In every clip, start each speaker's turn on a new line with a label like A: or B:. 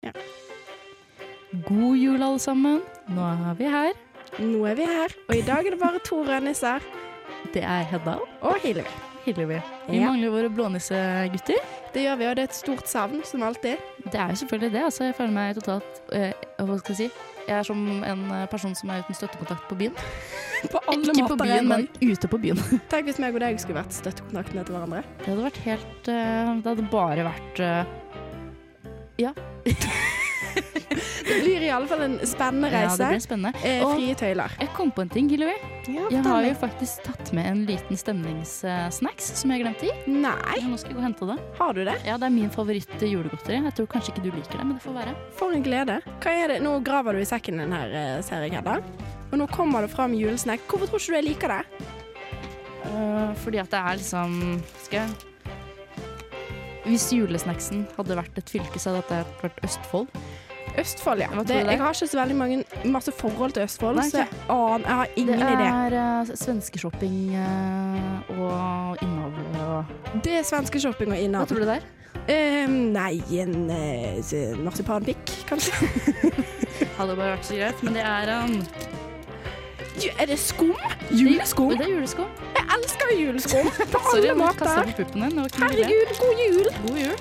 A: Ja.
B: God jul, alle sammen. Nå er vi her.
A: Nå er vi her, og i dag er det bare to rødnisser
B: Det er Hedda
A: og Hillevi.
B: Hillevi. Vi
A: Ja.
B: mangler våre blånissegutter.
A: Det gjør vi, og det er et stort savn, som alltid.
B: Det er jo selvfølgelig det. Altså, jeg føler meg totalt eh, Hva skal jeg si? Jeg er som en eh, person som er uten støttekontakt på byen.
A: På
B: Ikke på byen, men ute på byen.
A: Tenk hvis meg og deg skulle vært støttekontaktene til hverandre.
B: Det hadde vært helt eh, Det hadde bare vært eh,
A: Det blir i alle fall en spennende
B: Ja, det
A: reise.
B: ble spennende.
A: eh,
B: Og-
A: frie tøyler.
B: Jeg kom på en ting, Hillevi.
A: Ja,
B: Jeg har jo faktisk tatt med en liten stemningssnacks som jeg glemte i.
A: Nei,
B: Nå skal jeg gå og hente det.
A: har du det?
B: Ja, det er min favoritt julegodteri. Jeg tror kanskje ikke du liker det, men det får være.
A: For en glede. Hva er det? Nå graver du i sekken din her, eh, ser jeg, Hedda. Og nå kommer det fram julesnekk. Hvorfor tror ikke du jeg liker det?
B: Øh, fordi at det er liksom Skal jeg Hvis julesnacksen hadde vært et fylke, så hadde dette vært Østfold.
A: Østfold, ja.
B: Hva tror
A: Det,
B: du det er?
A: jeg har ikke så veldig mange, masse forhold til Østfold,
B: Nei,
A: så jeg, aner- jeg har ingen
B: det
A: idé.
B: er uh, svenskeshopping øh, og innavl og
A: Det er svenske shopping og
B: Hva
A: innavl.
B: tror du det er?
A: Eh, nei, en eh, s- marsipanpikk, kanskje?
B: Hadde bare vært så greit, men det er um,
A: Ju- Er det skum? Juleskum?
B: Det er juleskum.
A: Jeg elsker jo juleskum på
B: Sorry
A: alle
B: om jeg kasta
A: måter.
B: på puppen din. Det var ikke min idé.
A: Herregud, god jul!
B: God jul.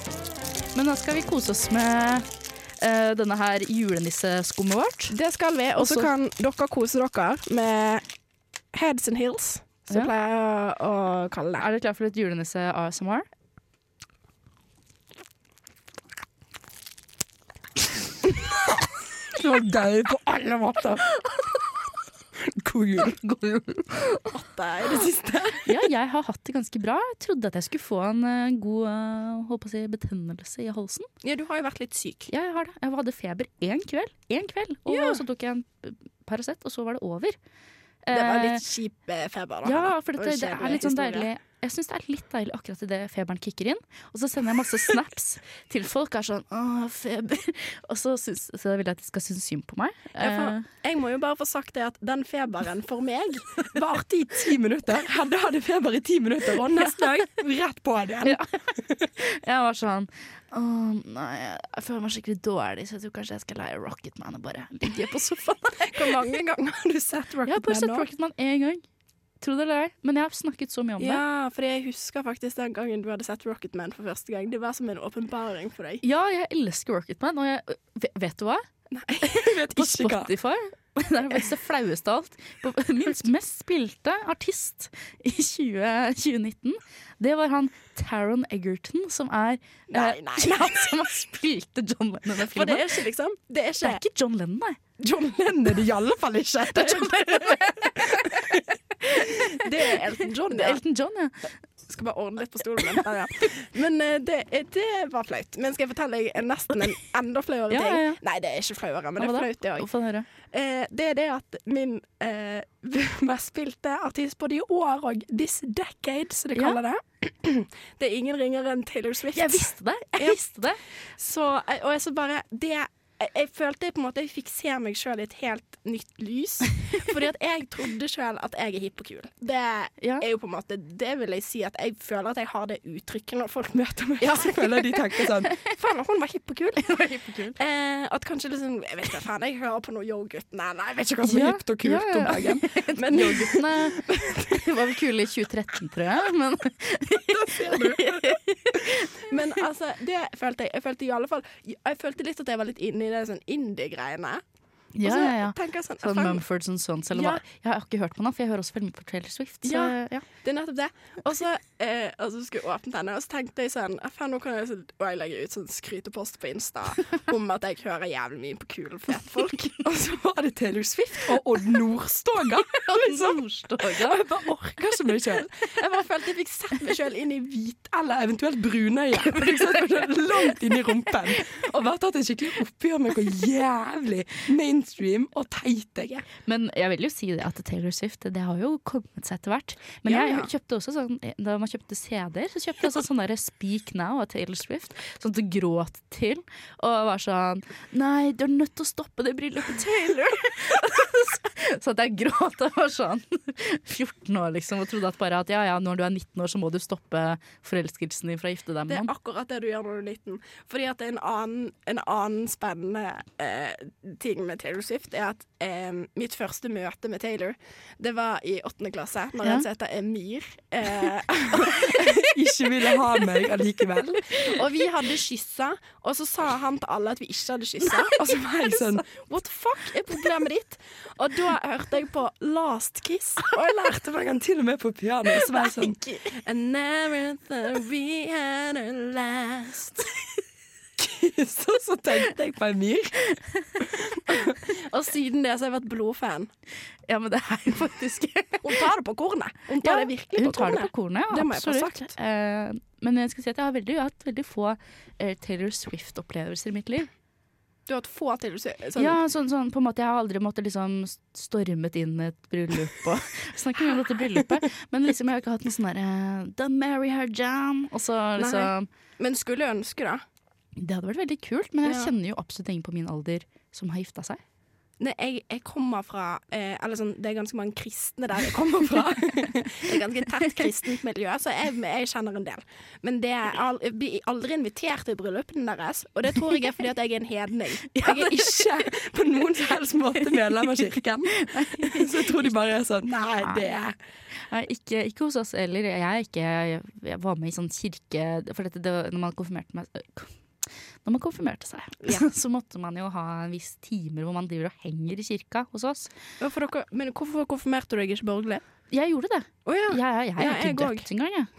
B: Men nå skal vi kose oss med øh, denne her julenisseskummet vårt.
A: Det skal vi. Og så
B: Også-
A: kan dere kose dere med Heads and Hills, som
B: Ja.
A: pleier jeg å å kalle det.
B: Er dere klar for litt julenisse ASMR?
A: Det var deg på alle måter. God jul.
B: God jul.
A: Det er det siste.
B: Ja, jeg har hatt det ganske bra. Jeg trodde at jeg skulle få en eh, god eh, holdt på å si, betennelse i halsen.
A: Ja, du har jo vært litt syk.
B: Ja, jeg har det. Jeg hadde feber én kveld, én kveld og
A: Ja.
B: så tok jeg en eh, Paracet, og så var det over.
A: Det var
B: Eh,
A: litt kjip eh, feber, da.
B: Ja, for
A: Og
B: dette, det
A: kjedelig
B: er litt sånn
A: historie.
B: deilig Jeg syns det er litt deilig akkurat idet feberen kicker inn. Og så sender jeg masse snaps til folk og er sånn 'Å, feber'. Og så, syns, så vil jeg at de skal synes synd på meg.
A: Ja, for-
B: Eh,
A: Jeg må jo bare få sagt det at den feberen for meg varte i ti minutter. Hedda hadde feber i ti minutter, og neste dag rett på det igjen.
B: Ja. Jeg var sånn Å nei, jeg føler meg skikkelig dårlig, så jeg tror kanskje jeg skal leie Rocketman og bare ligge på sofaen.
A: Hvor mange ganger har du
B: Jeg
A: sett
B: har
A: Rocket
B: bare
A: Man
B: sett
A: nå?
B: Rocketman én gang. Tro det eller ei, men jeg har snakket så mye om det.
A: Ja, for jeg husker faktisk den gangen du hadde sett Rocket Man for første gang. Det var som en åpenbaring for deg.
B: Ja, jeg elsker Rocketman, og jeg, ve- vet du hva?
A: Jeg vet
B: På Spotify Det er faktisk det flaueste av alt. På minst mest spilte artist i 20, 2019, det var han Taron Egerton, som er
A: Nei, nei, nei.
B: Han som har spilte John Lennon i den
A: For
B: filmen.
A: det er ikke liksom Det er
B: Det er
A: ikke
B: ikke John Lennon, nei.
A: John Lennon i alle fall ikke. Det er, Elton John.
B: Det er Elton John, ja.
A: Skal bare ordne litt på stolen min. Ja, ja. Men eh, det, eh, det var flaut. Men skal jeg fortelle deg en nesten en enda flauere
B: Ja,
A: ting?
B: ja, ja.
A: Nei, det er ikke flauere, men det
B: Hva
A: er
B: da?
A: flaut, det òg.
B: Få høre.
A: Eh, det er det at min eh, mest spilte artist både i år og this decade, som de
B: Ja.
A: kaller det. Det er ingen ringere enn Taylor Swift.
B: Jeg visste det! Jeg
A: Ja.
B: visste det.
A: Så, eh, og jeg så bare det, jeg, jeg følte på en måte jeg fikk se meg sjøl i et helt nytt lys. Fordi at jeg trodde sjøl at jeg er hipp og kul. Det
B: Ja.
A: er jo på en måte Det vil jeg si at jeg føler at jeg har det uttrykket når folk møter meg.
B: Ja.
A: Så føler de tenker sånn Faen, hun var hipp og kul.
B: Kjempekul.
A: Eh, at kanskje liksom Jeg vet ikke, faen, jeg hører på noe yoghurt. Nei, nei, jeg vet ikke hva som er
B: Ja,
A: hipt og kult
B: ja, ja.
A: om dagen. Men
B: Yoghurtene var vel kule i 2013, tror jeg. Men
A: Men altså, det følte jeg. Jeg følte i alle fall Jeg følte litt at jeg var litt inne i det sånn indie-greiene.
B: ja, ja, ja.
A: Og så tenker jeg sånn,
B: Sånn
A: faen,
B: Mumfords and Sons eller hva. Jeg har ikke hørt på den, for jeg hører også veldig mye på Taylor Swift. Så,
A: Ja.
B: ja.
A: Det er nettopp det. Og så eh, og så skulle jeg åpne denne, og så tenkte jeg sånn Faen, nå kan jeg, så- og jeg legge ut sånn skrytepost på Insta om at jeg hører jævlig mye på kule, fete folk. Og så var det Taylor Swift og Odd Nordstoga. Liksom.
B: Nordstoga.
A: Og jeg bare orker så mye sjøl. Jeg bare følte jeg fikk sett meg sjøl inn i sånn hvit, eller eventuelt brunøye. Jeg fikk sett meg selv Langt inn i rumpen. Og bare tatt en skikkelig oppgjør med hvor jævlig main mainstream og teite jeg er.
B: Men jeg vil jo si det at Taylor Swift det har jo kommet seg etter hvert. Men
A: Ja, ja.
B: jeg kjøpte også sånn, da man kjøpte CD-er, så kjøpte jeg også sånn der Speak Now av Taylor Swift. Sånn at du gråt til og var sånn Nei, du er nødt til å stoppe det bryllupet, Taylor! så at jeg gråt og var sånn 14 år, liksom, og trodde at bare at ja ja, når du er 19 år, så må du stoppe forelskelsen din fra å gifte deg
A: Det
B: med
A: er
B: noen.
A: akkurat det du gjør når du er 19. Fordi at en annen, en annen spennende eh, ting med Taylor Swift er at eh, mitt første møte med Taylor, det var i åttende klasse, når
B: Ja.
A: han heter Emir. Eh,
C: Ikke ville ha meg allikevel.
A: og vi hadde kyssa, og så sa han til alle at vi ikke hadde kyssa. Og så var jeg sånn What the fuck er problemet ditt? Og da hørte jeg på Last Kiss.
C: Og jeg lærte meg den til og med på piano. Så var jeg sånn
A: And never thought we had a last.
C: Så, så tenkte jeg på en myr.
A: Og siden det så har jeg vært blodfan.
B: Ja, men det er jo faktisk
A: Hun tar det på kornet. Hun
B: Ja,
A: tar det virkelig
B: hun
A: på
B: tar det
A: kornet.
B: på kornet. Ja,
A: Det må jeg få
B: absolutt.
A: sagt.
B: Eh, men jeg skal si at jeg har veldig, jeg har hatt veldig få eh, Taylor Swift-opplevelser i mitt liv.
A: Du har hatt få til å si sånn
B: Ja, sånn, sånn, på en måte Jeg har aldri måttet liksom stormet inn i et bryllup og Snakker mye om dette bryllupet, men liksom jeg har ikke hatt noe sånn derre Don't marry her, Jan. Og så liksom
A: Men skulle jeg ønske, da.
B: Det hadde vært veldig kult, men jeg
A: Ja.
B: kjenner jo absolutt ingen på min alder som har gifta seg.
A: Nei, jeg, jeg kommer fra eh, Eller sånn, det er ganske mange kristne der jeg kommer fra. det er ganske tett kristent miljø, så jeg, jeg kjenner en del. Men det er al jeg blir aldri invitert til bryllupene deres, og det tror jeg er fordi at jeg er en hedning. Jeg er ikke
C: På noen som helst måte medlem av kirken. Så jeg tror de bare er sånn Nei, det
B: Nei, ikke, ikke hos oss heller. Jeg, er ikke, jeg, jeg var med i sånn kirke For dette, det, var- når man konfirmerte meg Når man konfirmerte seg, så måtte man jo ha en viss timer hvor man driver og henger i kirka hos oss.
A: Hvorfor dere, Men hvorfor konfirmerte du deg ikke borgerlig?
B: Jeg gjorde det.
A: Å ja.
B: Jeg, jeg, jeg
A: Ja,
B: er
A: jeg
B: ikke døpt engang, jeg.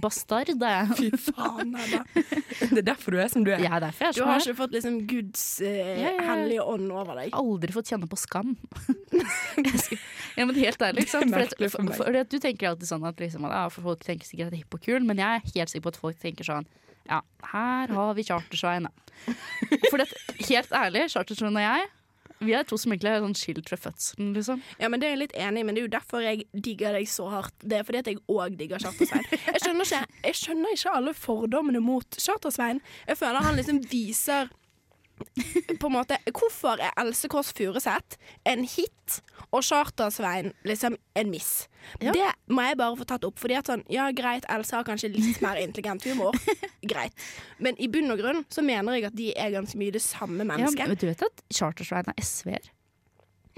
B: Bastard er jeg.
C: Fy faen, Anna. Det er derfor du er som du er.
B: Jeg er derfor jeg er
A: Du
B: sånn.
A: har
B: her.
A: ikke fått liksom Guds eh,
B: Ja, ja, ja.
A: hellige ånd over deg?
B: Jeg har Aldri fått kjenne på skam. Jeg skal- ja, men helt ærlig, ikke sant?
C: Det er
B: For,
C: merkelig
B: at,
C: for meg.
B: for, for at du tenker alltid sånn at liksom, at, ja, for folk tenker sikkert at hipp og kul, men jeg er helt sikker på at folk tenker sånn Ja, her har vi Chartersveien, da. For at, helt ærlig, Chartersveien og jeg, vi er to som egentlig har sånn skilt fra fødselen, liksom.
A: Ja, men Det er jeg litt enig i, men det er jo derfor jeg digger deg så hardt. Det er fordi at jeg òg digger Charter-Svein. Jeg, skjønner ikke- jeg skjønner ikke alle fordommene mot Charter-Svein. Jeg føler han liksom viser på en måte, Hvorfor er Else Kåss Furuseth en hit og Charter-Svein liksom en miss?
B: Ja.
A: Det må jeg bare få tatt opp. Fordi at sånn, ja greit, Else har kanskje litt mer intelligent humor. Greit. Men i bunn og grunn så mener jeg at de er ganske mye det samme
B: Ja,
A: mennesket.
B: men du vet at Chartersveien er SV-er?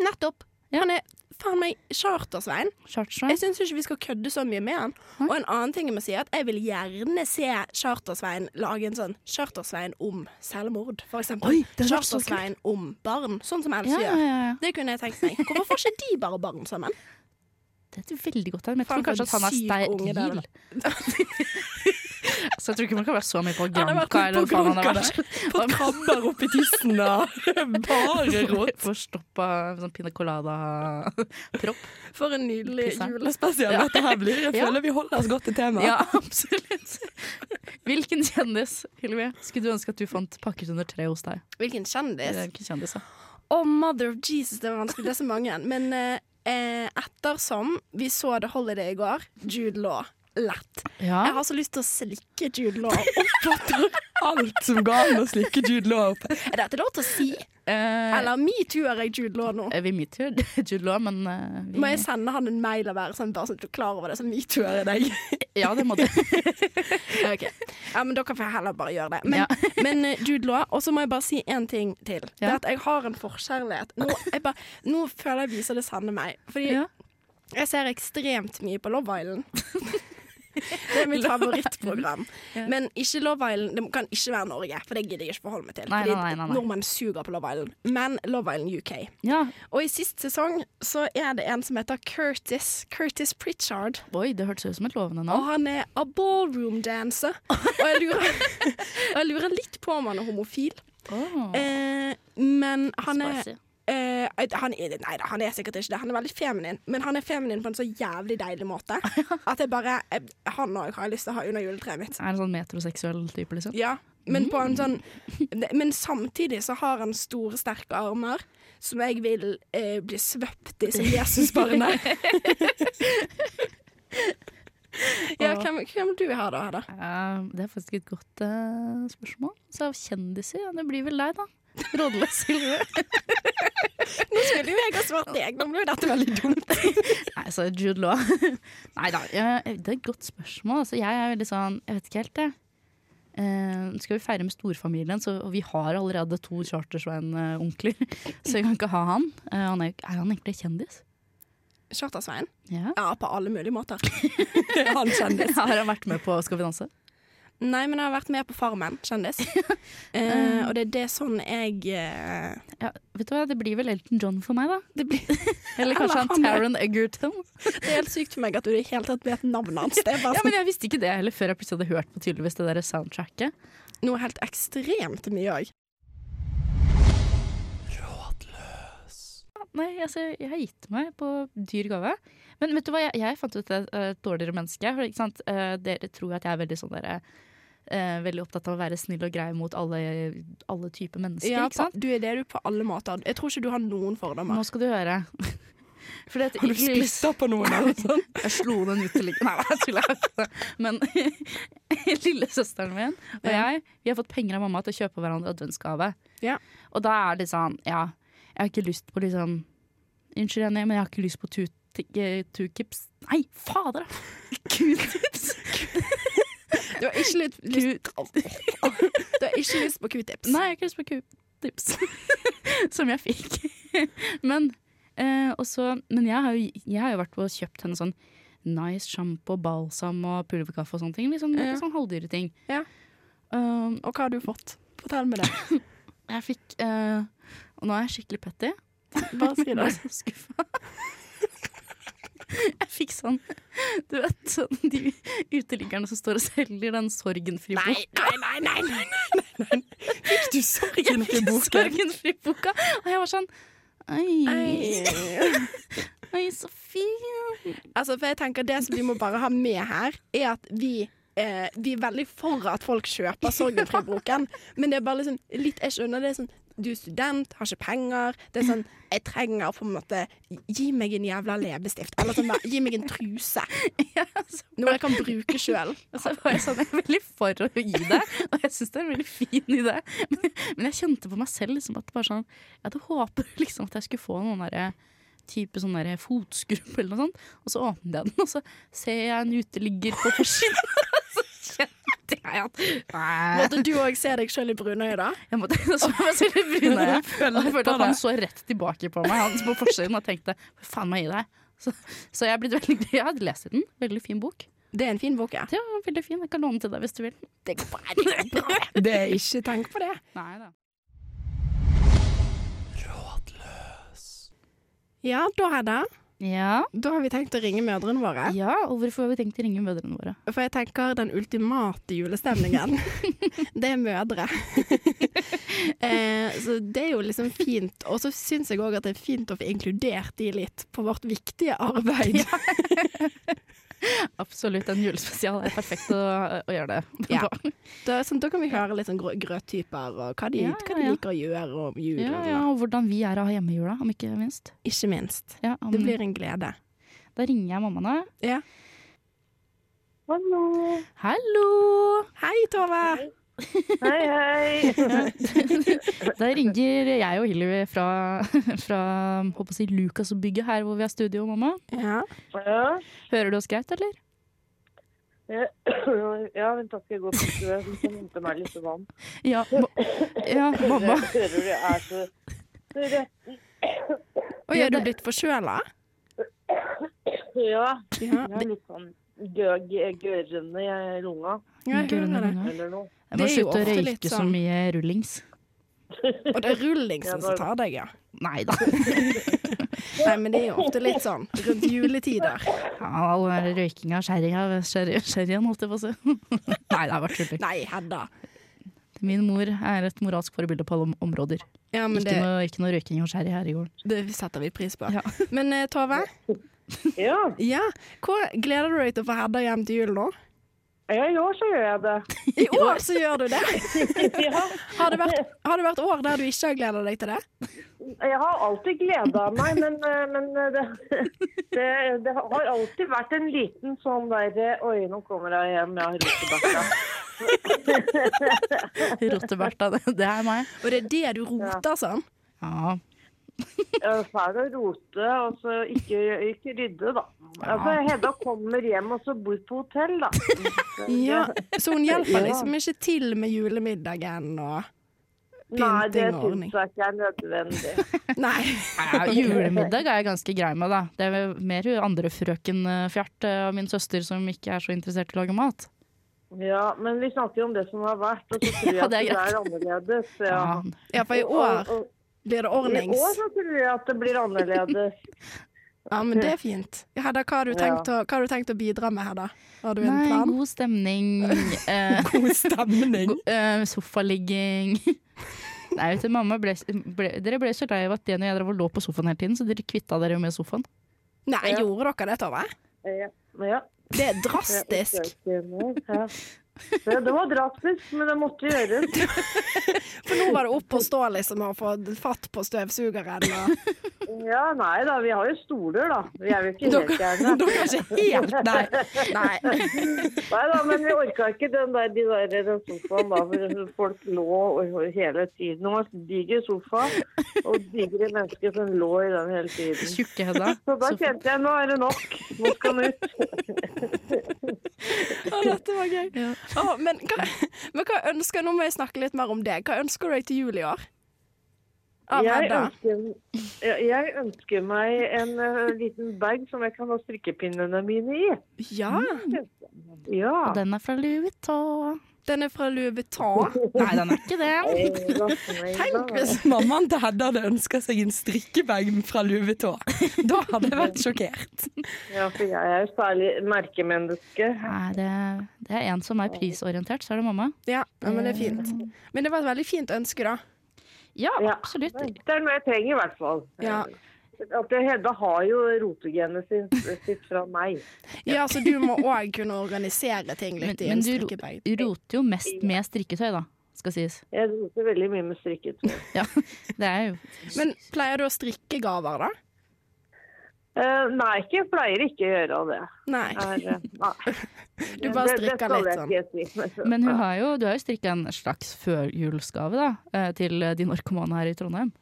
A: Nettopp.
B: Ja.
A: Han er faen meg Charter-Svein.
B: Chartersveien?
A: Jeg syns ikke vi skal kødde så mye med han.
B: Nei.
A: Og en annen ting jeg må si, er at jeg vil gjerne se Charter-Svein lage en sånn Charter-Svein om selvmord, for eksempel.
C: Oi, det hadde vært så kult.
A: Charter-Svein om barn, sånn som Else
B: Ja, ja,
A: gjør.
B: ja. ja.
A: Det kunne jeg tenkt meg. Hvorfor får ikke de bare barn sammen?
B: Det er et veldig godt tegn, men jeg tror
A: Faen,
B: kanskje at han er
A: syk unge der,
B: steril. så Altså, jeg tror ikke man kan være så mye på
C: Han har vært
B: Granca eller
C: på
B: hva faen han har
C: Granca,
B: vært.
C: Fått krabber oppi tissen og bare rått.
B: Forstoppa sånn pina colada-propp.
A: For en nydelig
B: Pisser.
A: jul.
C: Julespesial dette her blir. Jeg
B: Ja.
C: føler vi holder oss godt til temaet.
B: Ja, absolutt. Hvilken kjendis, Hilvi, skulle du ønske at du fant pakket under tre hos deg?
A: Hvilken kjendis.
B: Eller Hvilken kjendis, da?
A: Oh, mother of Jesus, det var vanskelig. Det er så mange. Men eh, eh, ettersom vi så The Holiday i går, Jude Law. Lett.
B: Ja.
A: Jeg har så lyst til å slikke Jude Law opp.
C: Alt som ga an å slikke Jude Law opp.
A: Er dette lov til å si?
B: Eh,
A: Eller metoo-er jeg Jude Law nå?
B: eh, vi metoo Jude Law, men eh, vi,
A: Må jeg sende han en mail og være sånn, bare sånn at du er klar over det, så metoo-er jeg deg?
B: Ja, det må du.
A: Ok. Ja, men da kan jeg heller bare gjøre det. Men,
B: Ja.
A: men eh, Jude Law, og så må jeg bare si én ting til. Det
B: Ja.
A: er at jeg har en forkjærlighet. Nå, jeg bare, nå føler jeg viser det sanne meg. Fordi
B: Ja.
A: jeg ser ekstremt mye på Love Island. Det er mitt favorittprogram. Men ikke Love Island Det kan ikke være Norge, for det gidder jeg ikke forholde meg til.
B: Nei,
A: fordi
B: nei, nei, nei.
A: nordmenn suger på Love Island. Men Love Island UK.
B: Ja.
A: Og i sist sesong så er det en som heter Curtis, Curtis Pritchard.
B: Oi, det hørtes ut som et lovende
A: Og
B: navn.
A: han er a ballroom dancer. Og jeg lurer, og jeg lurer litt på om han er homofil.
B: Åh,
A: Eh, men han er,
B: spicy.
A: eh, han er Nei da, han er sikkert ikke det. Han er veldig feminin. Men han er feminin på en så jævlig deilig måte eh, at jeg bare jeg, Han òg har jeg lyst til å ha under juletreet mitt.
B: Er en sånn metroseksuell type, liksom?
A: Ja, Men, på en sånn, det- men samtidig så har han store, sterke armer som jeg vil eh, bli svøpt i som Jesusbarnet. ja, hvem, hvem vil du ha da, Hedda?
B: Eh, det er faktisk et godt eh, spørsmål. Så av kjendiser, ja, det blir vel deg, da. Rådløs Silje.
A: Nå skulle jo jeg ha svart deg, nå ble jo dette veldig dumt.
B: Nei, så Jude Law. Nei da, jeg- det er et godt spørsmål. Altså, jeg er veldig sånn, jeg vet ikke helt, jeg. Eh, skal vi feire med storfamilien, så, og vi har allerede to chartersvein-onkler, eh, så vi kan ikke ha han. Eh, han er, jo- er han egentlig kjendis?
A: Charter-Svein?
B: Ja.
A: Ja, på alle mulige måter.
C: Han kjenner
B: Har han vært med på Skal vi danse?
A: Nei, men jeg har vært med på Farmen, kjendis. Eh, og det er det sånn jeg eh,
B: Ja, vet du hva, det blir vel Elton John for meg, da.
A: det, blir,
B: Eller kanskje han
A: Eller han er-
B: Taron Egerton.
A: det er helt sykt for meg at du i det hele tatt vet navnet hans. Det er bare
B: Ja,
A: sånn,
B: men jeg visste ikke det heller før jeg plutselig hadde hørt på tydeligvis det der soundtracket.
A: noe helt ekstremt mye òg.
B: Nei, altså, jeg har gitt meg på dyr gave. Men vet du hva, jeg, jeg fant ut at jeg er et dårligere menneske. For, ikke sant? Eh, dere tror at jeg er veldig sånn der, eh, veldig opptatt av å være snill og grei mot alle, alle typer mennesker.
A: Ja,
B: ikke sant?
A: på- du er det du på alle måter. Jeg tror ikke du har noen fordommer.
B: Nå skal du høre. Fordi at-
C: Har du spytta på noen eller noe sånt?
B: Jeg slo den ut til ligge. Nei, jeg tuller. jeg har ikke det. Men lillesøsteren min og jeg vi har fått penger av mamma til å kjøpe hverandre adventsgave.
A: Ja.
B: Og da er det sånn Ja, jeg har ikke lyst på liksom Unnskyld, Jenny, men jeg har ikke lyst på tu- ti- eh, tukips. Nei, fader! Q-tips!
A: Du har ikke lyst, lyst, du har ikke lyst på q-tips.
B: Nei, jeg har ikke lyst på q-tips. Som jeg fikk. Men, eh, og så- men jeg, har jo, jeg har jo vært på og kjøpt henne sånn nice sjampo, balsam og pulverkaffe og sånne ting. Liksom,
A: Ja.
B: Sånn halvdyre ting.
A: Ja.
B: Um,
A: Og hva har du fått? Fortell meg det.
B: Jeg fikk eh, Og nå er jeg skikkelig petty.
A: Bare si
B: Jeg
A: det.
B: ble så skuffa. Jeg fikk sånn Du vet sånn de uteliggerne som står og selger den sorgenfri
A: Nei,
B: boka.
A: nei, nei, nei, nei.
C: Fikk du
B: Jeg
C: sorgen i
B: fikk
C: boken?
B: sorgenfri boka, og jeg var sånn Oi,
A: nei.
B: oi, så fin.
A: Altså, for jeg tenker Det som vi må bare ha med her, er at vi eh, vi er veldig for at folk kjøper Sorgenfri-boken, men det er bare liksom litt Jeg skjønner det er sånn Du er student, har ikke penger. Det er sånn Jeg trenger på en måte Gi meg en jævla leppestift. Eller sånn, gi meg en truse. Noe jeg kan bruke sjøl.
B: Og så var jeg sånn, jeg er veldig for å gi det, og jeg syns det er en veldig fin idé. Men, men jeg kjente på meg selv liksom, at bare sånn, jeg hadde håpet liksom, at jeg skulle få noen der, type sånn der fotskrump eller noe sånt. Og så åpnet jeg den, og så ser jeg en uteligger på forsiden. Og så kjente jeg
A: eh.
B: at Nei.
A: Måtte du òg se deg sjøl i brunøyet, da?
B: Jeg måtte så meg selv i brynet.
C: Jeg
B: Og jeg følte
C: på
B: at han
C: det.
B: så rett tilbake på meg, han på forsiden, og tenkte hva faen må jeg gi deg? Så, så jeg er blitt veldig Jeg hadde lest i den. Veldig fin bok.
A: Det er en fin bok, ja.
B: Det var veldig fin. Jeg kan låne den til deg hvis du vil.
A: Det går bra. Det går bra.
C: Det er ikke
A: Tenk på det.
B: Nei da.
A: Ja, da, Hedda.
B: Ja.
A: Da har vi tenkt å ringe mødrene våre.
B: ja, og hvorfor har vi tenkt å ringe mødrene våre?
A: For jeg tenker den ultimate julestemningen, det er mødre. eh, så det er jo liksom fint. Og så syns jeg òg at det er fint å få inkludert de litt på vårt viktige arbeid.
B: Absolutt, en julespesial er perfekt å, å gjøre det
A: Ja.
B: på.
A: Da, sånn, da kan vi høre litt sånn grø- grøttyper, og hva de,
B: Ja,
A: hva de
B: ja.
A: liker å gjøre om jul.
B: Ja,
A: og sånn.
B: ja, og hvordan vi er av hjemmejula, om ikke minst.
A: Ikke minst.
B: Ja, om,
A: Det blir en glede.
B: Da ringer jeg mammaen, da.
A: Ja.
D: Hallo.
B: Hallo!
A: Hei, Tove!
D: Hei, hei.
B: Da ringer jeg og Hilary fra, fra håper jeg å si, Lukasbygget her hvor vi har studio, mamma.
A: Ja.
D: Ja.
B: Hører du oss greit, eller?
D: ja, vent da skal jeg gå på stue. Jeg skal hente meg litt vann.
B: Ja, ja mamma.
D: Jeg hører det er så så det-
A: Oi, er du blitt forkjøla?
D: Ja,
A: Ja,
D: jeg er litt sånn gø- gø- gørrende i lunga
A: jeg hører det.
D: eller noe.
B: Jeg må
A: Det er jo
B: slutte å
A: ofte
B: røyke
A: litt
B: så
A: sånn-
B: mye rullings.
A: Og det er rullingsen som tar deg, ja.
B: Nei da.
A: Nei, men det er jo ofte litt sånn rundt juletider.
B: Ja, all den der røykinga og sherrya, sherry- sherryen, holdt jeg på å si. Nei, det er bare tulling.
A: Nei, Hedda.
B: Min mor er et moralsk forbilde på alle om- områder.
A: Ja, men
B: Ikke,
A: det,
B: noe, ikke noe røyking og sherry her i gården.
A: det setter vi pris på.
B: Ja.
A: Men eh, Tove,
D: Ja.
A: ja, hva gleder du deg til å få Hedda hjem til jul nå?
D: Ja, i år så gjør jeg det.
A: I år så gjør du det.
D: Ja,
A: Har det vært, har det vært år der du ikke har gleda deg til det?
D: jeg har alltid gleda meg, men, eh, men eh, det, det, det har alltid vært en liten sånn derre Oi, nå kommer jeg hjem, jeg har rotebakka.
B: Rottebertha, det, det er meg.
A: Og det er det du roter sånn?
B: Ja.
D: Fæl å rote, og så ikke, ikke rydde, da. Altså, Hedda kommer hjem og så bor på hotell, da.
A: Ja, Så hun hjelper
D: Ja.
A: liksom ikke til med julemiddagen og
D: Nei, det
A: pynting og ordning?
D: syns jeg ikke er nødvendig.
A: Nei.
B: Ja, Julemiddag er jeg ganske grei med, da. Det er vel mer jo andre frøken eh, Fjert eh, og min søster som ikke er så interessert i å lage mat.
D: Ja, men vi snakker om det som har vært, og så tror jeg
B: Ja,
D: at
B: det
D: det
B: er
D: er, annerledes. Ja.
B: Ja.
A: Ja, for i
D: Og-
A: år
D: og-
A: blir det
D: I år
A: ordnings.
D: så tror jeg at det blir annerledes.
A: Ja, men det er fint. Ja, Hedda, hva har du tenkt å, hva har du tenkt å bidra med, Hedda? Har du en
B: Nei,
A: plan?
B: god stemning. Eh,
C: God stemning.
B: go- eh, sofaligging. Nei, vet du, mamma ble, ble, dere ble så lei av at Jenny og jeg drev og lå på sofaen hele tiden, så dere kvitta dere jo med sofaen.
A: Nei,
D: Ja.
A: gjorde dere det, Tove?
D: Ja. Ja.
A: Det er
D: jeg
A: drastisk.
D: forsøker nå, Ja. Det, det var drastisk, men det måtte gjøres.
A: For nå var det opp og stå liksom og få fatt på støvsugeren. Og...
D: Ja, nei da, vi har jo stoler, da. Vi er jo ikke helt gærne.
C: Dere er ikke helt Nei.
A: Nei.
D: Nei da, men vi orka ikke den der, de der den sofaen da, for folk lå og- og hele tiden. Det var en diger sofa og digre mennesker som lå i den hele tiden.
B: Tjukke Hedda.
D: Så da
B: Sofa-
D: kjente jeg nå er det nok. Nå skal den ut.
A: Å, dette var gøy. Å, men, hva, men hva ønsker Nå må jeg snakke litt mer om deg. Hva ønsker du deg til jul i år? Av
D: Jeg
A: Hedda?
D: ønsker, jeg- jeg ønsker meg en eh, liten bag som jeg kan ha strikkepinnene mine i.
A: Ja.
D: Ja.
B: Og den er fra Louis Vuitton.
A: Den er fra Louis Vuitton.
B: Nei, den er ikke
D: Eh,
B: det.
A: Tenk hvis
C: Mammaen til Hedda hadde ønska seg en strikkebag fra Louis Vuitton. Da hadde jeg vært sjokkert.
D: Ja, for jeg er jo særlig merkemenneske.
B: Nei, det, det er en som er prisorientert, så er det mamma.
A: ja, ja, men det er fint. Men det var et veldig fint ønske, da.
B: Ja,
D: Ja.
B: absolutt.
D: Det er noe jeg trenger i hvert fall.
A: Ja.
D: At det- Hedda har jo rotegenet sitt, sitt fra meg.
A: Ja, så du må òg kunne organisere ting
B: Men,
A: litt i
B: men
A: en
B: du ro-
A: strikkebag.
B: roter jo mest med strikketøy, da, skal sies.
D: Jeg roter veldig mye med strikket.
B: Ja, det er jo
A: Men pleier du å strikke gaver, da?
D: Eh, nei, ikke, jeg pleier ikke å gjøre det.
A: Nei.
D: Er, eh, nei.
A: Du bare
D: Det- det
A: strikker
D: skal
A: litt
D: jeg
A: sånn.
D: ikke si.
B: Men hun har jo, du har jo strikka en slags førjulsgave da, eh, til de narkomane her i Trondheim.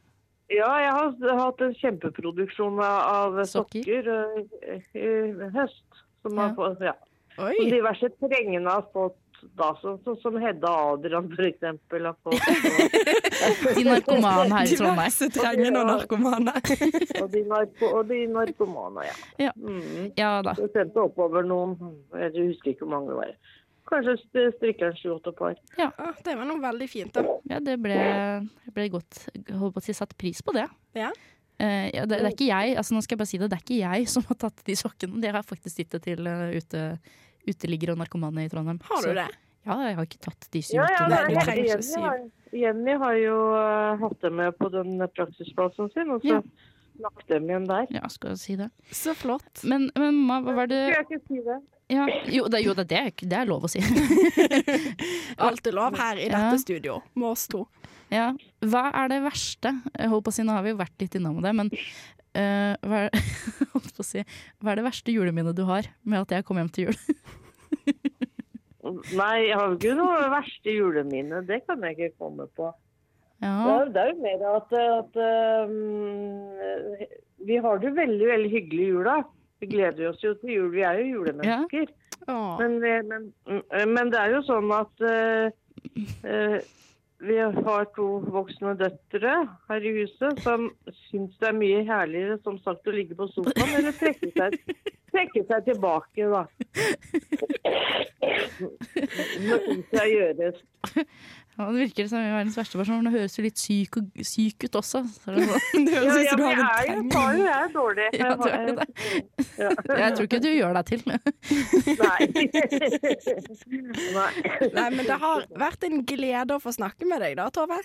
D: Ja, jeg har hatt en kjempeproduksjon av av
B: Sokker.
D: sokker eh, i i høst. Som
B: Ja.
D: har fått ja. Og
A: Oi.
D: diverse trengende har fått da, sånn så, som Hedda Adrian f.eks. har fått. Og,
B: De narkomane her i Trondheim.
C: Diverse trengende og narkomane.
D: og, de, narko, og de narkomane, ja.
B: Ja.
D: Mm.
B: Ja da.
D: Så sendte oppover noen, jeg husker ikke hvor mange det var. Kanskje st- strikker en sju-åtte par.
A: Å, Ah, det var noe veldig fint, da.
B: Ja, det ble, ble godt holdt på å si, satt pris på det.
A: Ja.
B: Eh, ja, det, det er ikke jeg altså nå skal jeg bare si det, det er ikke jeg som har tatt de sokkene. Det har faktisk gitt det til eh, ute, uteliggere og narkomane i Trondheim.
A: Har
B: Så-
A: du det?
B: Ja, jeg har ikke tatt de
D: Ja, ja,
B: syv-åtte
D: det
A: du
D: er
A: trenger
D: Jenny,
A: ikke
D: Jenny,
A: si.
D: har, Jenny har jo eh, hatt det med på den praksisplassen sin, og så
B: Ja.
D: lagt dem igjen der.
B: Ja, skal jeg si det.
A: Så flott.
B: Men, men mamma, hva var det
D: Skal jeg ikke si det?
B: ja, Jo, det, jo det, det, er, ikke- det er lov å si.
A: Alt er lov her i
B: Ja.
A: dette studio med oss to.
B: Ja. Hva er det verste? Jeg holdt på å si, nå har vi jo vært litt innom det, men eh, hva, er, holdt på å si, hva er det verste juleminnet du har med at jeg kom hjem til jul?
D: Nei, jeg har jo ikke noe verste juleminne. Det kan jeg ikke komme på. Det
B: Ja,
D: er, det er jo mer at, at um, vi har det veldig, veldig hyggelig i jula. Vi gleder oss jo til jul. Vi er jo julemennesker.
A: Å,
D: Men, vi- men, men det er jo sånn at eh, eh, vi har to voksne døtre her i huset som syns det er mye herligere som sagt å ligge på sofaen eller trekke seg, trekke seg tilbake, da. Det syns jeg gjøres.
B: ja, det virker som jeg er verdens verste person, men det høres jo litt syk, og, syk ut også. Så det er sånn-
C: Det
D: Ja,
C: høres ut
D: ja,
C: som du
D: men
C: har
D: jeg
C: en
D: er jo
C: treng.
D: bare jeg er dårlig.
B: Ja, du er det.
D: Ja.
B: Jeg tror ikke du gjør deg til.
D: Nei. Nei.
A: Nei, men det har vært en glede å få snakke med deg da, Tove.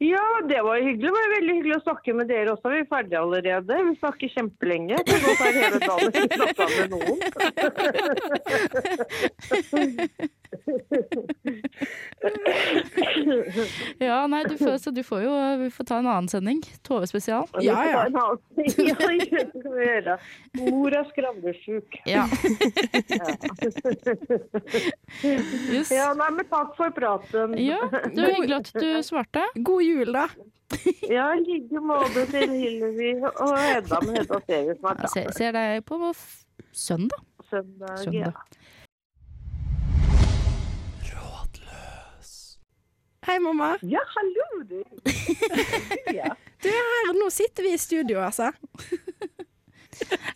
D: Ja, det var jo hyggelig. Det var jo veldig hyggelig å snakke med dere også. Vi er ferdige allerede. Vi snakker kjempelenge. Det går bare hele dagen vi snakker med noen.
B: Ja, nei, du får, så du får jo vi får ta en annen sending. Tove-spesial.
A: Ja, ja.
D: Vi får ta en annen ting. Ja, det skal vi gjøre. Mor er skravlesjuk.
B: Ja. Yes.
D: Ja, nei, men takk for praten.
B: Ja, det var hyggelig at du svarte.
A: God jul, da.
D: Ja, i like måte til Hillevi og Hedda. Men Hedda ser vi snart,
B: Jeg
D: da.
B: ser, ser deg på f- søndag.
D: Søndag. Ja.
B: søndag.
A: Hei, mamma.
D: ja, hallo, du. Ja.
A: Her, nå sitter vi i studio, altså.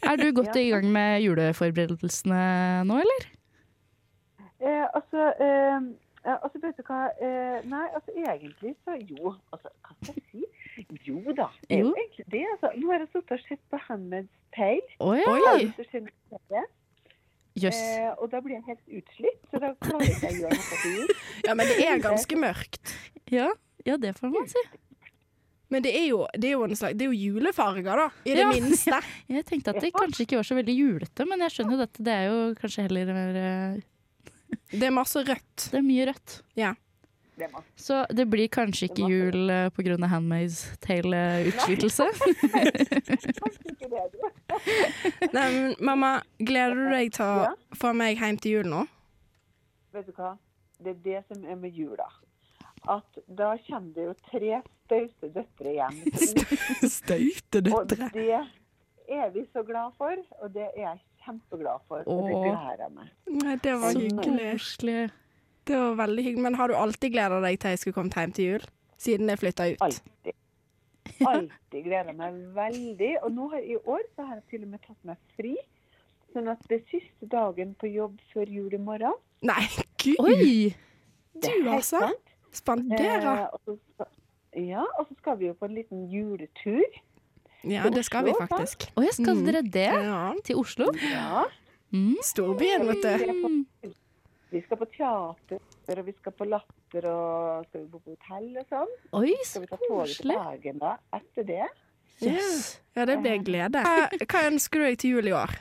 B: Er du godt i gang med juleforberedelsene nå, eller?
E: Eh, altså, eh, eh, altså, vet du hva eh, Nei, altså egentlig så Jo, altså, hva skal jeg si? Jo da, det er jo
B: Jo.
E: egentlig det. Altså. Nå har jeg sittet og sett på Handmaid's Tale.
B: Å ja.
E: Jeg har sett det,
B: Jøss.
E: Eh, og da blir jeg helt utslitt, så da klarer jeg ikke å gjøre noe til jul.
A: Ja, men det er ganske mørkt.
B: Ja. ja, det får man si.
A: Men det er jo, det er jo, en slags, det er jo julefarger, da. I det
B: Ja.
A: minste.
B: Jeg tenkte at det kanskje ikke var så veldig julete, men jeg skjønner jo at det er jo kanskje heller mer eh,
A: Det er masse rødt.
B: Det er mye rødt.
A: Ja.
E: Det er masse.
B: Så det blir kanskje ikke jul eh, på grunn av Handmaid's Tale-utslittelse.
E: Kanskje ikke det, du.
A: Nei, men mamma, gleder du deg til å
E: Ja.
A: få meg hjem til jul nå?
E: Vet du hva? Det er det som er med jula. At da kommer det jo tre stause døtre hjem.
C: Støyte
E: Og
C: døtre.
E: det er vi så glad for, og det er jeg kjempeglad for. Og det
B: Åh.
E: gleder jeg meg.
A: Nei, det var
B: Så
A: hyggelig.
B: koselig.
A: Det var veldig hyggelig. Men har du alltid gleda deg til jeg skulle komme hjem til jul? Siden jeg flytta ut?
E: Alltid. Alltid gleder meg veldig. Og nå har, i år så har jeg til og med tatt meg fri. Sånn at det er siste dagen på jobb før jul i morgen.
A: Nei, gud!
B: Oi!
A: Du,
E: Det er helt
A: altså.
E: sant.
A: Spanderer.
E: Eh, og så skal- Ja, og så skal vi jo på en liten juletur.
A: Ja, det skal vi
E: Oslo, sant?
A: faktisk.
B: Å, jeg skal
A: Mm.
B: dere det?
A: Ja.
B: Til Oslo?
E: Ja.
B: Mm.
A: Storbyen, vet du.
B: Mm.
E: Vi skal på teater, og vi skal på Latter, og skal vi bo på hotell og sånn.
B: Oi,
E: Skal
B: så
E: vi ta toget til
B: koselig.
E: Bergen da, etter det.
B: Yes.
A: Ja, det
C: Eh.
A: blir glede. Eh, Hva, hva ønsker du deg til jul i år?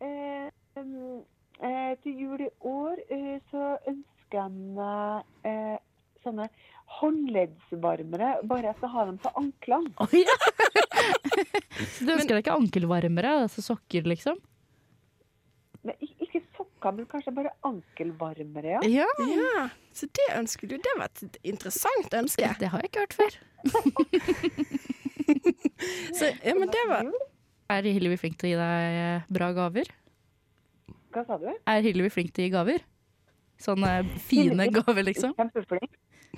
E: Eh, um, eh, til jul i år eh, så ønsker jeg meg eh, sånne håndleddsvarmere. Bare jeg skal ha dem på anklene.
B: Oi, ja. Så du ønsker deg ikke ankelvarmere, altså sokker, liksom?
E: Men ik- Ikke sokker, men kanskje bare ankelvarmere. ja.
B: Ja.
A: Ja, så det ønsker du. Det var et interessant ønske.
B: Det har jeg ikke hørt før.
A: Så, ja, men det var
B: Er Hillevi flink til å gi deg eh, bra gaver?
E: Hva sa du?
B: Er Hillevi flink til å gi gaver? Sånne eh, fine gaver, liksom?
E: Kjempeflink.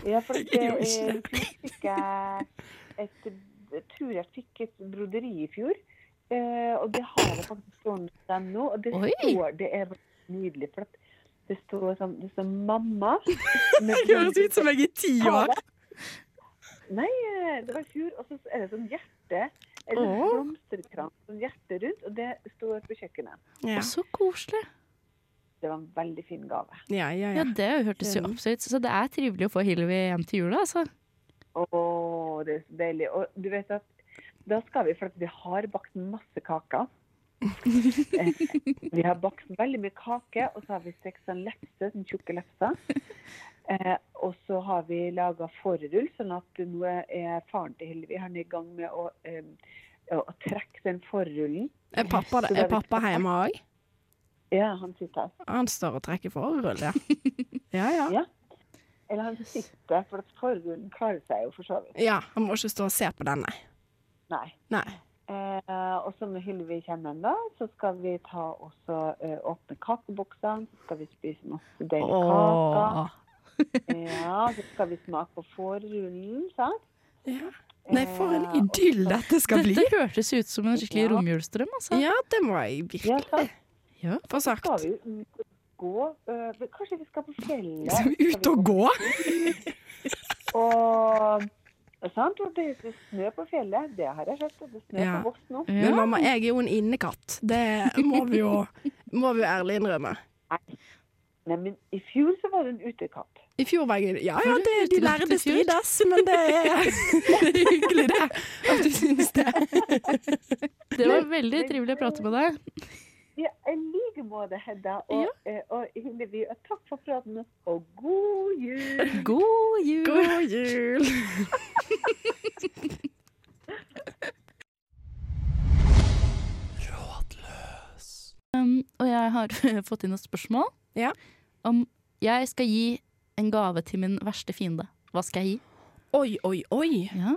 E: Ja, for det,
A: Jo, ikke
E: eh, fikk jeg et, jeg tror jeg fikk et broderi i fjor. Eh, og det har jeg faktisk stående hos dem nå. Og det
B: Oi.
E: står Det er nydelig flott. Det står sånn Det står 'mamma'. med
C: Det høres ut som jeg er ti år.
E: Nei, eh, det var i fjor. Og så er det sånn hjerte. Eller
B: Åh.
E: blomsterkrans. Sånn hjerte rundt. Og det står på kjøkkenet.
A: Ja,
B: Så koselig.
E: Det var en veldig fin gave.
A: ja, ja.
B: Ja,
A: ja.
B: det hørtes jo absolutt Så det er trivelig å få Hillevi hjem til jula, altså.
E: Å, det er så deilig. Og du vet at da skal vi, for at vi har bakt masse kaker. Eh, vi har bakt veldig mye kake, og så har vi stekt sånn lefse, sånn tjukke lefser. Eh, og så har vi laga fårrull, sånn at nå er faren til Hillevi han er i gang med å, eh, å trekke den fårrullen.
A: Er pappa, er pappa hjemme òg?
E: Ja, han sitter her.
A: Han står og trekker forrull, ja. Ja, ja.
E: Eller han sitter, for at forhuden klarer seg jo for så vidt.
A: Ja, han må ikke stå og se på den, nei.
E: Nei.
A: Nei.
E: Eh, og så når Hylvi kommer hjem, da, så skal vi ta også, eh, åpne kakeboksene. Så skal vi spise masse deilige kaker.
B: Åh.
E: Ja, så skal vi smake på fårrullen, sant?
A: Ja.
C: Nei, for en
E: Eh,
C: idyll dette skal bli.
B: Dette hørtes ut som en skikkelig
E: Ja.
B: romjulsdrøm, altså.
A: ja, det må jeg
E: Ja,
A: virkelig
E: sant?
A: få
E: Skal
A: sagt.
E: vi jo ut og gå? eh, men kanskje vi skal på fjellet?
C: Som ut og gå.
E: Og, sant? Og det er snø på fjellet. Det har jeg sett. og Det er snø
A: Ja.
E: på Voss nå.
A: Men
B: Ja.
A: mamma, jeg er jo en innekatt. Det må vi jo, må vi jo ærlig innrømme.
E: Nei, men i fjor så var det en utekatt.
A: I fjor var jeg Ja ja,
B: Var du
A: det,
B: ute
A: de
B: og
A: lærde
B: gikk tur?
A: strides, men det er
C: Hyggelig det, at du syns det.
B: Det var veldig trivelig å prate med deg.
E: Ja, I like måte, Hedda og, eh, og Hillevi. Og takk for praten, og god jul!
B: God jul.
A: God jul!
B: Um, og jeg har fått inn et spørsmål
A: Ja.
B: om jeg skal gi en gave til min verste fiende. Hva skal jeg gi?
A: Oi, oi, oi.
B: Ja.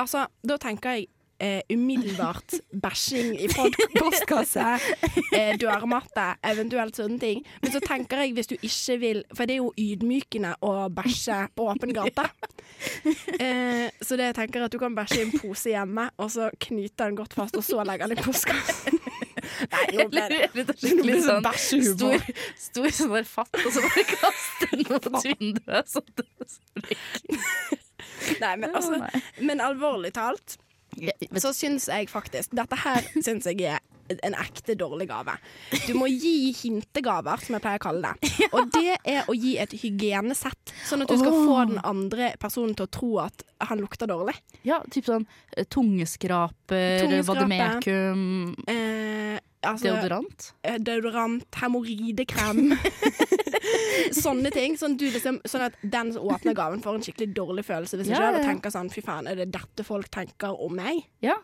A: Altså, da tenker jeg eh, umiddelbart bæsjing i pod
C: Postkasse.
A: eh, dørmatte, eventuelt sånne ting. Men så tenker jeg, hvis du ikke vil For det er jo ydmykende å bæsje på åpen gate. Eh, så det jeg tenker at du kan bæsje i en pose hjemme, og så knyte den godt fast, og så legge den i postkassen. Nei, jo,
B: Eller
A: men
B: eller det er skikkelig
C: Litt
B: sånn
C: sånn bæsjehumor.
B: stor, stor sånn der fatt, og så bare kaste den mot vinduet. Så det,
A: Nei, men, altså,
B: Nei.
A: men alvorlig talt,
B: Jeg- vet-
A: så syns jeg faktisk Dette her syns jeg er en ekte dårlig gave. Du må gi hintegaver, som jeg pleier å kalle det. Og det er å gi et hygienesett, sånn at du skal få den andre personen til å tro at han lukter dårlig.
B: ja, typ sånn eh, tungeskraper, eh,
A: Tungeskrape.
B: vademekum,
A: Eh, altså,
B: deodorant.
A: eh, deodorant, hemoroidekrem. Sånne ting. Sånn, du, liksom, sånn at den som åpner gaven, får en skikkelig dårlig følelse hvis
B: Ja,
A: ikke
B: ja,
A: og
B: ja.
A: tenker sånn Fy faen, er det dette folk tenker om meg?
B: Ja.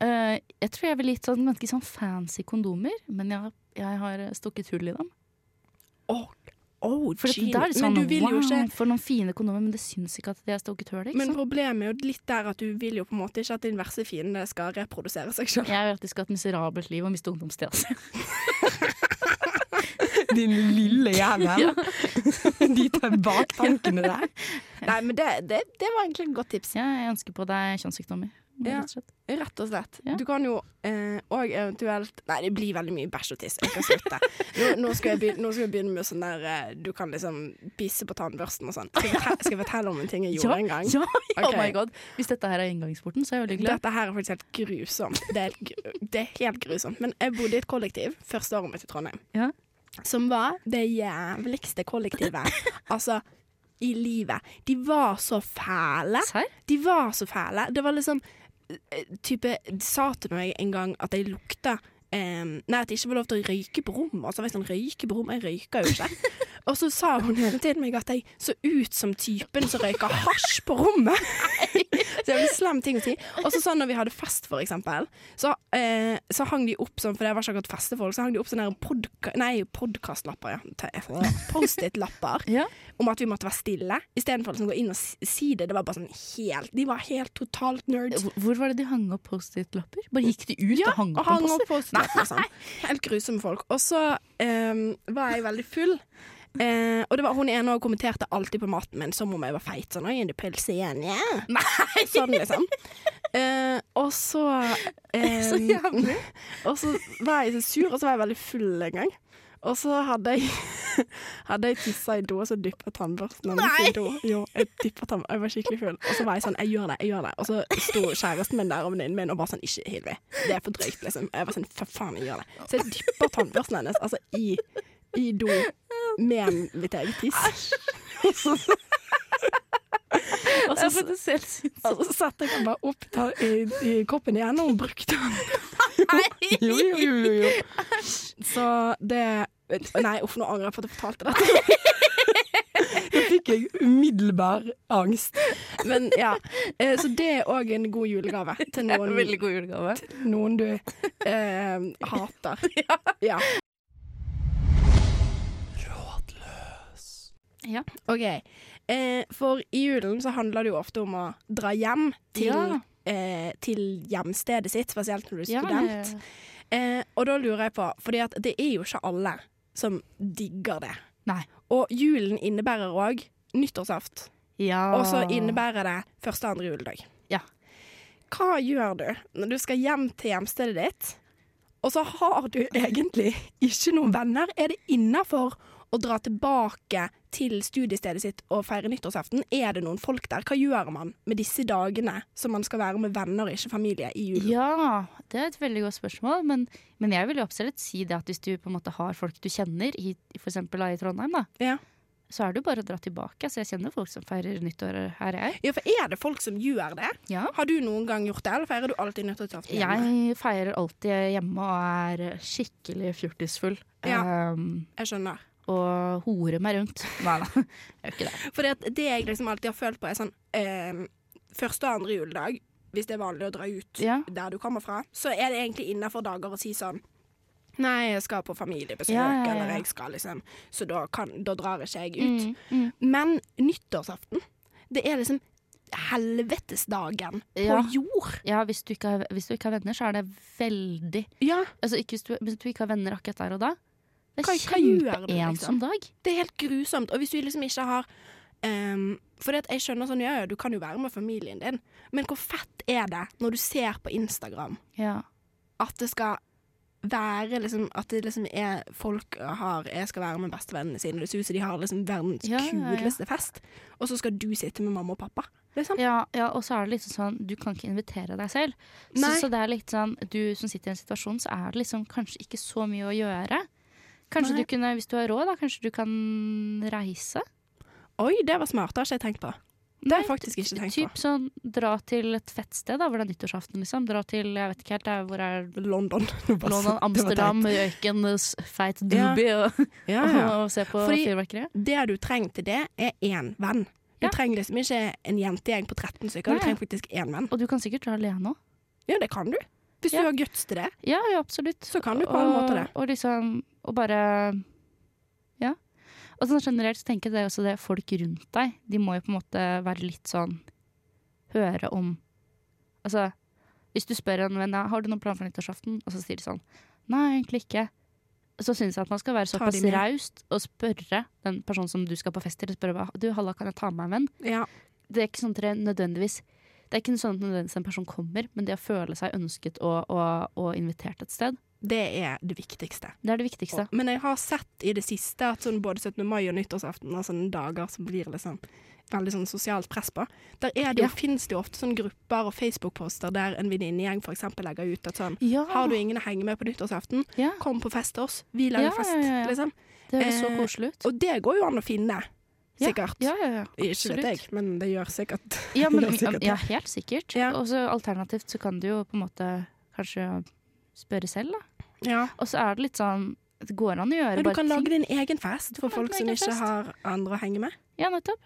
B: Eh, jeg tror jeg vil litt sånn ganske sånn fancy kondomer, men jeg, jeg har stukket hull i dem.
A: Åh, åh,
B: For det,
A: geni.
B: da er det sånn,
A: men du vil
B: wow,
A: jo ikke
B: for noen fine kondomer, men det syns ikke at jeg har stukket hull. Ikke
A: Men
B: sant?
A: problemet er jo litt der at du vil jo på en måte ikke at din verste fiende skal reprodusere seg sjøl.
B: Jeg vil at de skal ha et miserabelt liv og miste ungdomstida si.
C: Din lille jævel. De tar baktankene der.
A: Nei, men det, det, det var egentlig et godt tips.
B: Ja, jeg ønsker på deg kjønnssykdommer.
A: Ja.
B: rett og slett.
A: Rett og slett.
B: Ja.
A: Du kan jo eh, og eventuelt Nei, det blir veldig mye bæsj og tiss. Jeg kan slutte. Nå, nå, skal jeg begynne, nå skal jeg begynne med sånn der eh, Du kan liksom pisse på tannbørsten og sånn. Skal, jeg fortell- skal jeg fortelle om en ting jeg gjorde en gang?
B: ja, ja,
A: Ok.
B: oh my god. Hvis dette her er inngangsporten, så er jeg veldig glad.
A: Dette her er faktisk helt grusomt. Det er, helt gru- det er helt grusomt. Men jeg bodde i et kollektiv første året mitt i Trondheim.
B: Ja.
A: Som var det jævligste kollektivet. altså i livet. De var så fæle.
B: Serr?
A: De var så fæle. Det var liksom eh, type, De sa til meg en gang at jeg lukta eh, Nei, at jeg ikke var lov til å røyke på rommet. Og så var jeg sånn, røyke på rommet? Jeg røyker jo ikke. Og så sa hun hele tiden meg at jeg så ut som typen som røyker hasj på rommet. Så det er en slem ting å si. Og så sånn når vi hadde fest, for eksempel, så, eh, så hang de opp sånn, for det var ikke akkurat festefolk, så hang de opp sånne her podka nei, podcastlapper, ja. Ta- Post-it-lapper
B: Ja.
A: om at vi måtte være stille, istedenfor å liksom gå inn og si- si det. Det var bare sånn helt De var helt totalt nerds.
B: Hvor- Hvor var det de hang opp Post-It-lapper? Bare gikk de ut og hang
A: Og
B: opp en
A: hang opp
B: Post-It?
A: post-it. Liksom. Helt grusomme folk. Og så eh, var jeg veldig full. Eh, og det var hun ene og kommenterte alltid på maten min som om jeg var feit. Sånn, Oi, er det pølse igjen? Ja. Sånn, liksom. Eh, og så eh,
B: Så jævlig.
A: Og så var jeg så sur, og så var jeg veldig full en gang. Og så hadde jeg, hadde jeg tissa i do, og så dyppa tannbørsten hennes i do. Jo, jeg, dyppet tann- jeg var skikkelig full. Og så var jeg sånn, jeg gjør det, jeg gjør det. Og så sto kjæresten min der og venninnen min og bare sånn, ikke Hilvi, det er for drøyt, liksom. Jeg var sånn, for faen, jeg gjør det. Så jeg dyppa tannbørsten hennes, altså i, i do, med mitt eget tiss. Og
B: Det er
A: så,
B: faktisk helt sinnssykt.
A: og så satte jeg meg opp ta, i, i koppen igjen, og hun brukte den.
C: Jo, jo, jo, jo, jo.
A: Så det Nei, uff, nå angrer jeg på at jeg fortalte dette.
C: Da fikk jeg umiddelbar angst.
A: Men ja, eh, så det er òg en god julegave til
B: Det er en
A: noen,
B: veldig god julegave.
A: noen du eh, hater. Ja.
B: Ja.
A: OK. Eh, for i julen så handler det jo ofte om å dra hjem til,
B: Ja.
A: eh, til hjemstedet sitt, spesielt når du er
B: Ja,
A: student. Eh, og da lurer jeg på, fordi at det er jo ikke alle som digger det.
B: Nei.
A: Og julen innebærer òg nyttårsaften.
B: ja.
A: Og så innebærer det første og andre juledag.
B: Ah. Ja.
A: Hva gjør du når du skal hjem til hjemstedet ditt, og så har du egentlig ikke noen venner? Er det innafor å dra tilbake til studiestedet sitt og feire nyttårsaften? Er det noen folk der? Hva gjør man med disse dagene som man skal være med venner og ikke familie i julen?
B: Ja, det er et veldig godt spørsmål. Men, men jeg vil jo absolutt si det at hvis du på en måte har folk du kjenner, i, for eksempel da i Trondheim, da,
A: Ja.
B: så er det jo bare å dra tilbake. Så jeg kjenner folk som feirer nyttår her, jeg.
A: Ja, for er det folk som gjør det?
B: Ja.
A: Har du noen gang gjort det, eller feirer du alltid nyttårsaften? hjemme?
B: Jeg feirer alltid hjemme og er skikkelig fjortisfull.
A: Ja.
B: Ehm,
A: Jeg skjønner.
B: og horer meg rundt. Nei da, jeg gjør ikke det.
A: For det jeg liksom alltid har følt på, er sånn eh, Første og andre juledag, hvis det er vanlig å dra ut
B: Ja.
A: der du kommer fra, så er det egentlig innafor dager å si sånn Nei, jeg skal på familiebesøk,
B: Ja, Mm. ja, ja.
A: eller jeg skal liksom Så da, kan, da drar ikke jeg ut. Men nyttårsaften, det er liksom helvetesdagen
B: Ja.
A: på jord.
B: Ja, hvis du, ikke har, hvis du ikke har venner, så er det veldig
A: Ja,
B: Altså, ikke hvis, du, hvis du ikke har venner akkurat der og da. Det
A: Hva-
B: er
A: hva gjør du,
B: kjempeensom dag.
A: Det er helt grusomt. Og hvis du liksom ikke har um, For jeg skjønner sånn, ja, ja, du kan jo være med familien din, men hvor fett er det når du ser på Instagram
B: Ja.
A: at det skal være liksom At det liksom er folk har Jeg skal være med bestevennene sine, det ser ut som de har liksom verdens
B: Ja, ja, ja.
A: kuleste fest, og så skal du sitte med mamma og pappa, liksom.
B: Ja, ja, og så er det liksom sånn Du kan ikke invitere deg selv. Så,
A: Nei.
B: så det er litt sånn Du som sitter i en situasjon, så er det liksom kanskje ikke så mye å gjøre. Kanskje
A: Nei.
B: du kunne, hvis du har råd, da, kanskje du kan reise?
A: Oi, det var smart, det har ikke jeg tenkt på. Det har jeg faktisk ikke tenkt
B: Typ sånn dra til et fett sted, da, hvor det er nyttårsaften, liksom. Dra til, jeg vet ikke helt, det er- hvor er
A: på. London.
B: London,
A: Altså,
B: Amsterdam, røyken, s- feit doobie og,
A: Ja,
B: og,
A: ja.
B: se på
A: Fordi-
B: fyrverkeri.
A: Det du trenger til det, er én venn.
B: Ja.
A: Du trenger liksom ikke en jentegjeng på 13 stykker,
B: Nei.
A: du trenger faktisk én venn.
B: Og du kan sikkert dra alene òg.
A: Ja, det kan du. Hvis
B: Ja.
A: du har guts til det,
B: Ja, ja, absolutt.
A: så kan du på en måte det.
B: Og liksom, og bare Ja. Og sånn generelt så tenker jeg det er også det folk rundt deg, de må jo på en måte være litt sånn Høre om Altså, hvis du spør en venn ja, har du noen plan for nyttårsaften, og så sier de sånn Nei, egentlig ikke. Så syns jeg at man skal være
A: Ta de
B: såpass
A: med.
B: raust og spørre den personen som du skal på fest til, spørre hva- du, halla, kan jeg ta med meg en venn?
A: Ja.
B: det er ikke sånn at det nødvendigvis det er ikke sånn at nødvendigvis en person kommer, men det å føle seg ønsket og, og, og invitert et sted,
A: Det er det viktigste.
B: det er det viktigste.
A: Men jeg har sett i det siste at sånn både 17. mai og nyttårsaften er sånne dager som blir liksom veldig sånn sosialt press på. Der er det jo,
B: Ja.
A: finnes det jo ofte sånne grupper og Facebook-poster der en venninnegjeng f.eks. legger ut at sånn
B: Ja,
A: Har du ingen å henge med på nyttårsaften?
B: ja
A: Kom på fest til oss. Vi lager
B: Ja,
A: fest,
B: ja, ja, ja.
A: liksom.
B: det høres så
A: Eh,
B: koselig ut.
A: Og det går jo an å finne, sikkert.
B: Ja, ja, ja.
A: Ikke vet jeg,
B: Absolutt.
A: men det gjør sikkert
B: Ja, men,
A: Det er sikkert det.
B: ja, helt sikkert.
A: Ja.
B: Og så alternativt så kan du jo på en måte kanskje spørre selv, da.
A: Ja.
B: Og så er det litt sånn Det går an å gjøre
A: Men du
B: bare
A: kan lage
B: ting.
A: din egen fest for
B: kan
A: folk
B: lage
A: som
B: din
A: ikke
B: fest.
A: har andre å henge med.
B: Ja, nettopp.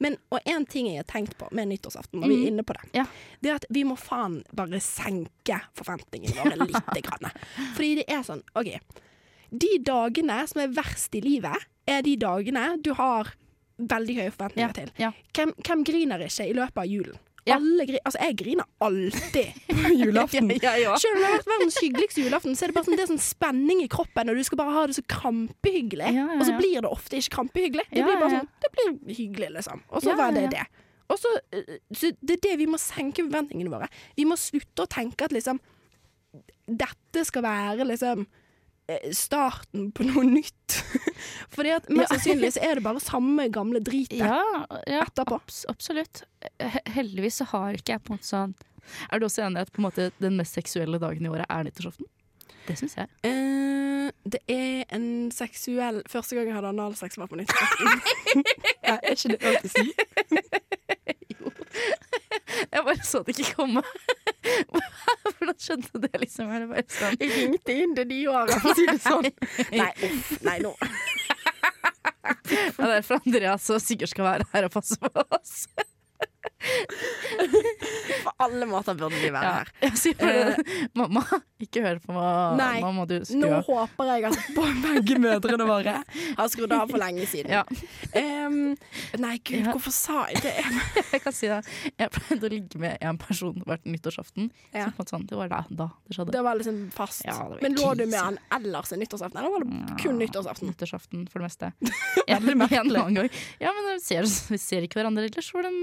A: Men, og en ting jeg har tenkt på med nyttårsaften, når vi er inne på det,
B: Mhm. Ja.
A: det er at vi må faen bare senke forventningene våre lite grann. Fordi det er sånn, OK De dagene som er verst i livet, er de dagene du har veldig høye
B: Ja,
A: forventninger til.
B: ja.
A: Hvem, hvem griner ikke i løpet av julen?
B: Ja.
A: Alle gri altså, jeg griner alltid.
C: Julaften.
A: Selv om det har vært verdens hyggeligste julaften, så er det bare sånn, det er sånn spenning i kroppen, og du skal bare ha det så krampehyggelig.
B: Ja, ja, ja.
A: Og så blir det ofte ikke krampehyggelig. Det
B: Ja,
A: blir
B: ja,
A: bare
B: ja.
A: sånn, det blir hyggelig, liksom. Og så
B: Ja,
A: var
B: ja,
A: det
B: ja.
A: det. Og så, eh, så Det er det vi må senke forventningene våre. Vi må slutte å tenke at liksom Dette skal være liksom eh, starten på noe nytt. Fordi at mest sannsynlig så er det bare samme gamle dritet
B: Ja, ja.
A: etterpå.
B: Abs absolutt. He- Heldigvis så har ikke jeg på en måte sånn Er du også enig i at på en måte den mest seksuelle dagen i året er nyttårsaften? Det syns jeg.
A: Eh, det er en seksuell Første gang jeg hadde analsex, var på 90-tallet.
C: Er ikke det lov til å si?
B: Jeg bare så det ikke komme. Hvordan skjønte det, liksom? Er det bare sånn
A: Jeg ringte inn til de åra.
C: For å si det sånn.
A: Nei, uff. Nei, nå.
B: Det er derfor Andreas og Sigurd skal være her og passe på oss.
A: På alle måter burde de være
B: Ja,
A: her.
B: jeg sier bare Mamma, ikke hør på meg.
A: Nei,
B: Nå må du
A: Nå
B: skru av.
A: håper jeg at
C: Begge mødrene våre.
A: har skrudd av for lenge siden.
B: Ja,
A: Em, nei, gud,
B: Ja.
A: hvorfor sa jeg det?
B: jeg kan si det. Jeg pleide å ligge med en person hvert nyttårsaften.
A: Ja.
B: Så på en måte sånn, det var da, da det skjedde.
A: Det var liksom fast.
B: Ja, det var
A: Men lå du
B: krise.
A: med han ellers en nyttårsaften, eller var det kun nyttårsaften?
B: nyttårsaften for det meste. En eller annen gang. Ja, men vi ser, vi ser ikke hverandre ellers. Hvordan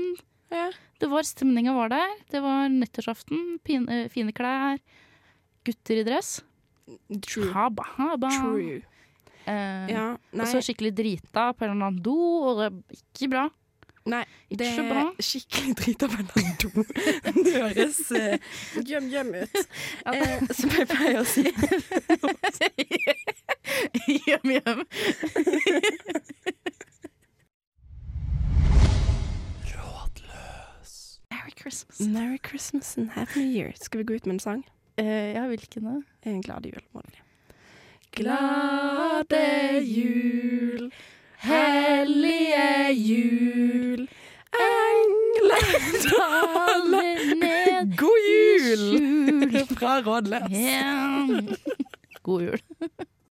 A: Ja.
B: det var Stemninga var der. Det var nyttårsaften, pin- eh, fine klær, gutter i dress.
A: True.
B: Haba, haba.
A: True.
B: Eh,
A: Ja,
B: og
A: nei,
B: så skikkelig drita på en eller annen do, og det ikke bra.
A: nei, det
B: så bra.
A: er skikkelig drit av en do.
C: Det høres eh,
A: Gjem, gjem ut.
B: Eh,
C: som jeg pleier å si.
B: Hjem, hjem. Christmas.
A: Merry Christmas and Happy New Year. Skal vi gå ut med en sang?
B: Eh, ja, hvilken da?
A: En glade jul, må vi. Glade jul, hellige jul, engler daler.
B: ned
C: God
B: jul!
C: Fra Rådløs.
B: Yeah. God jul.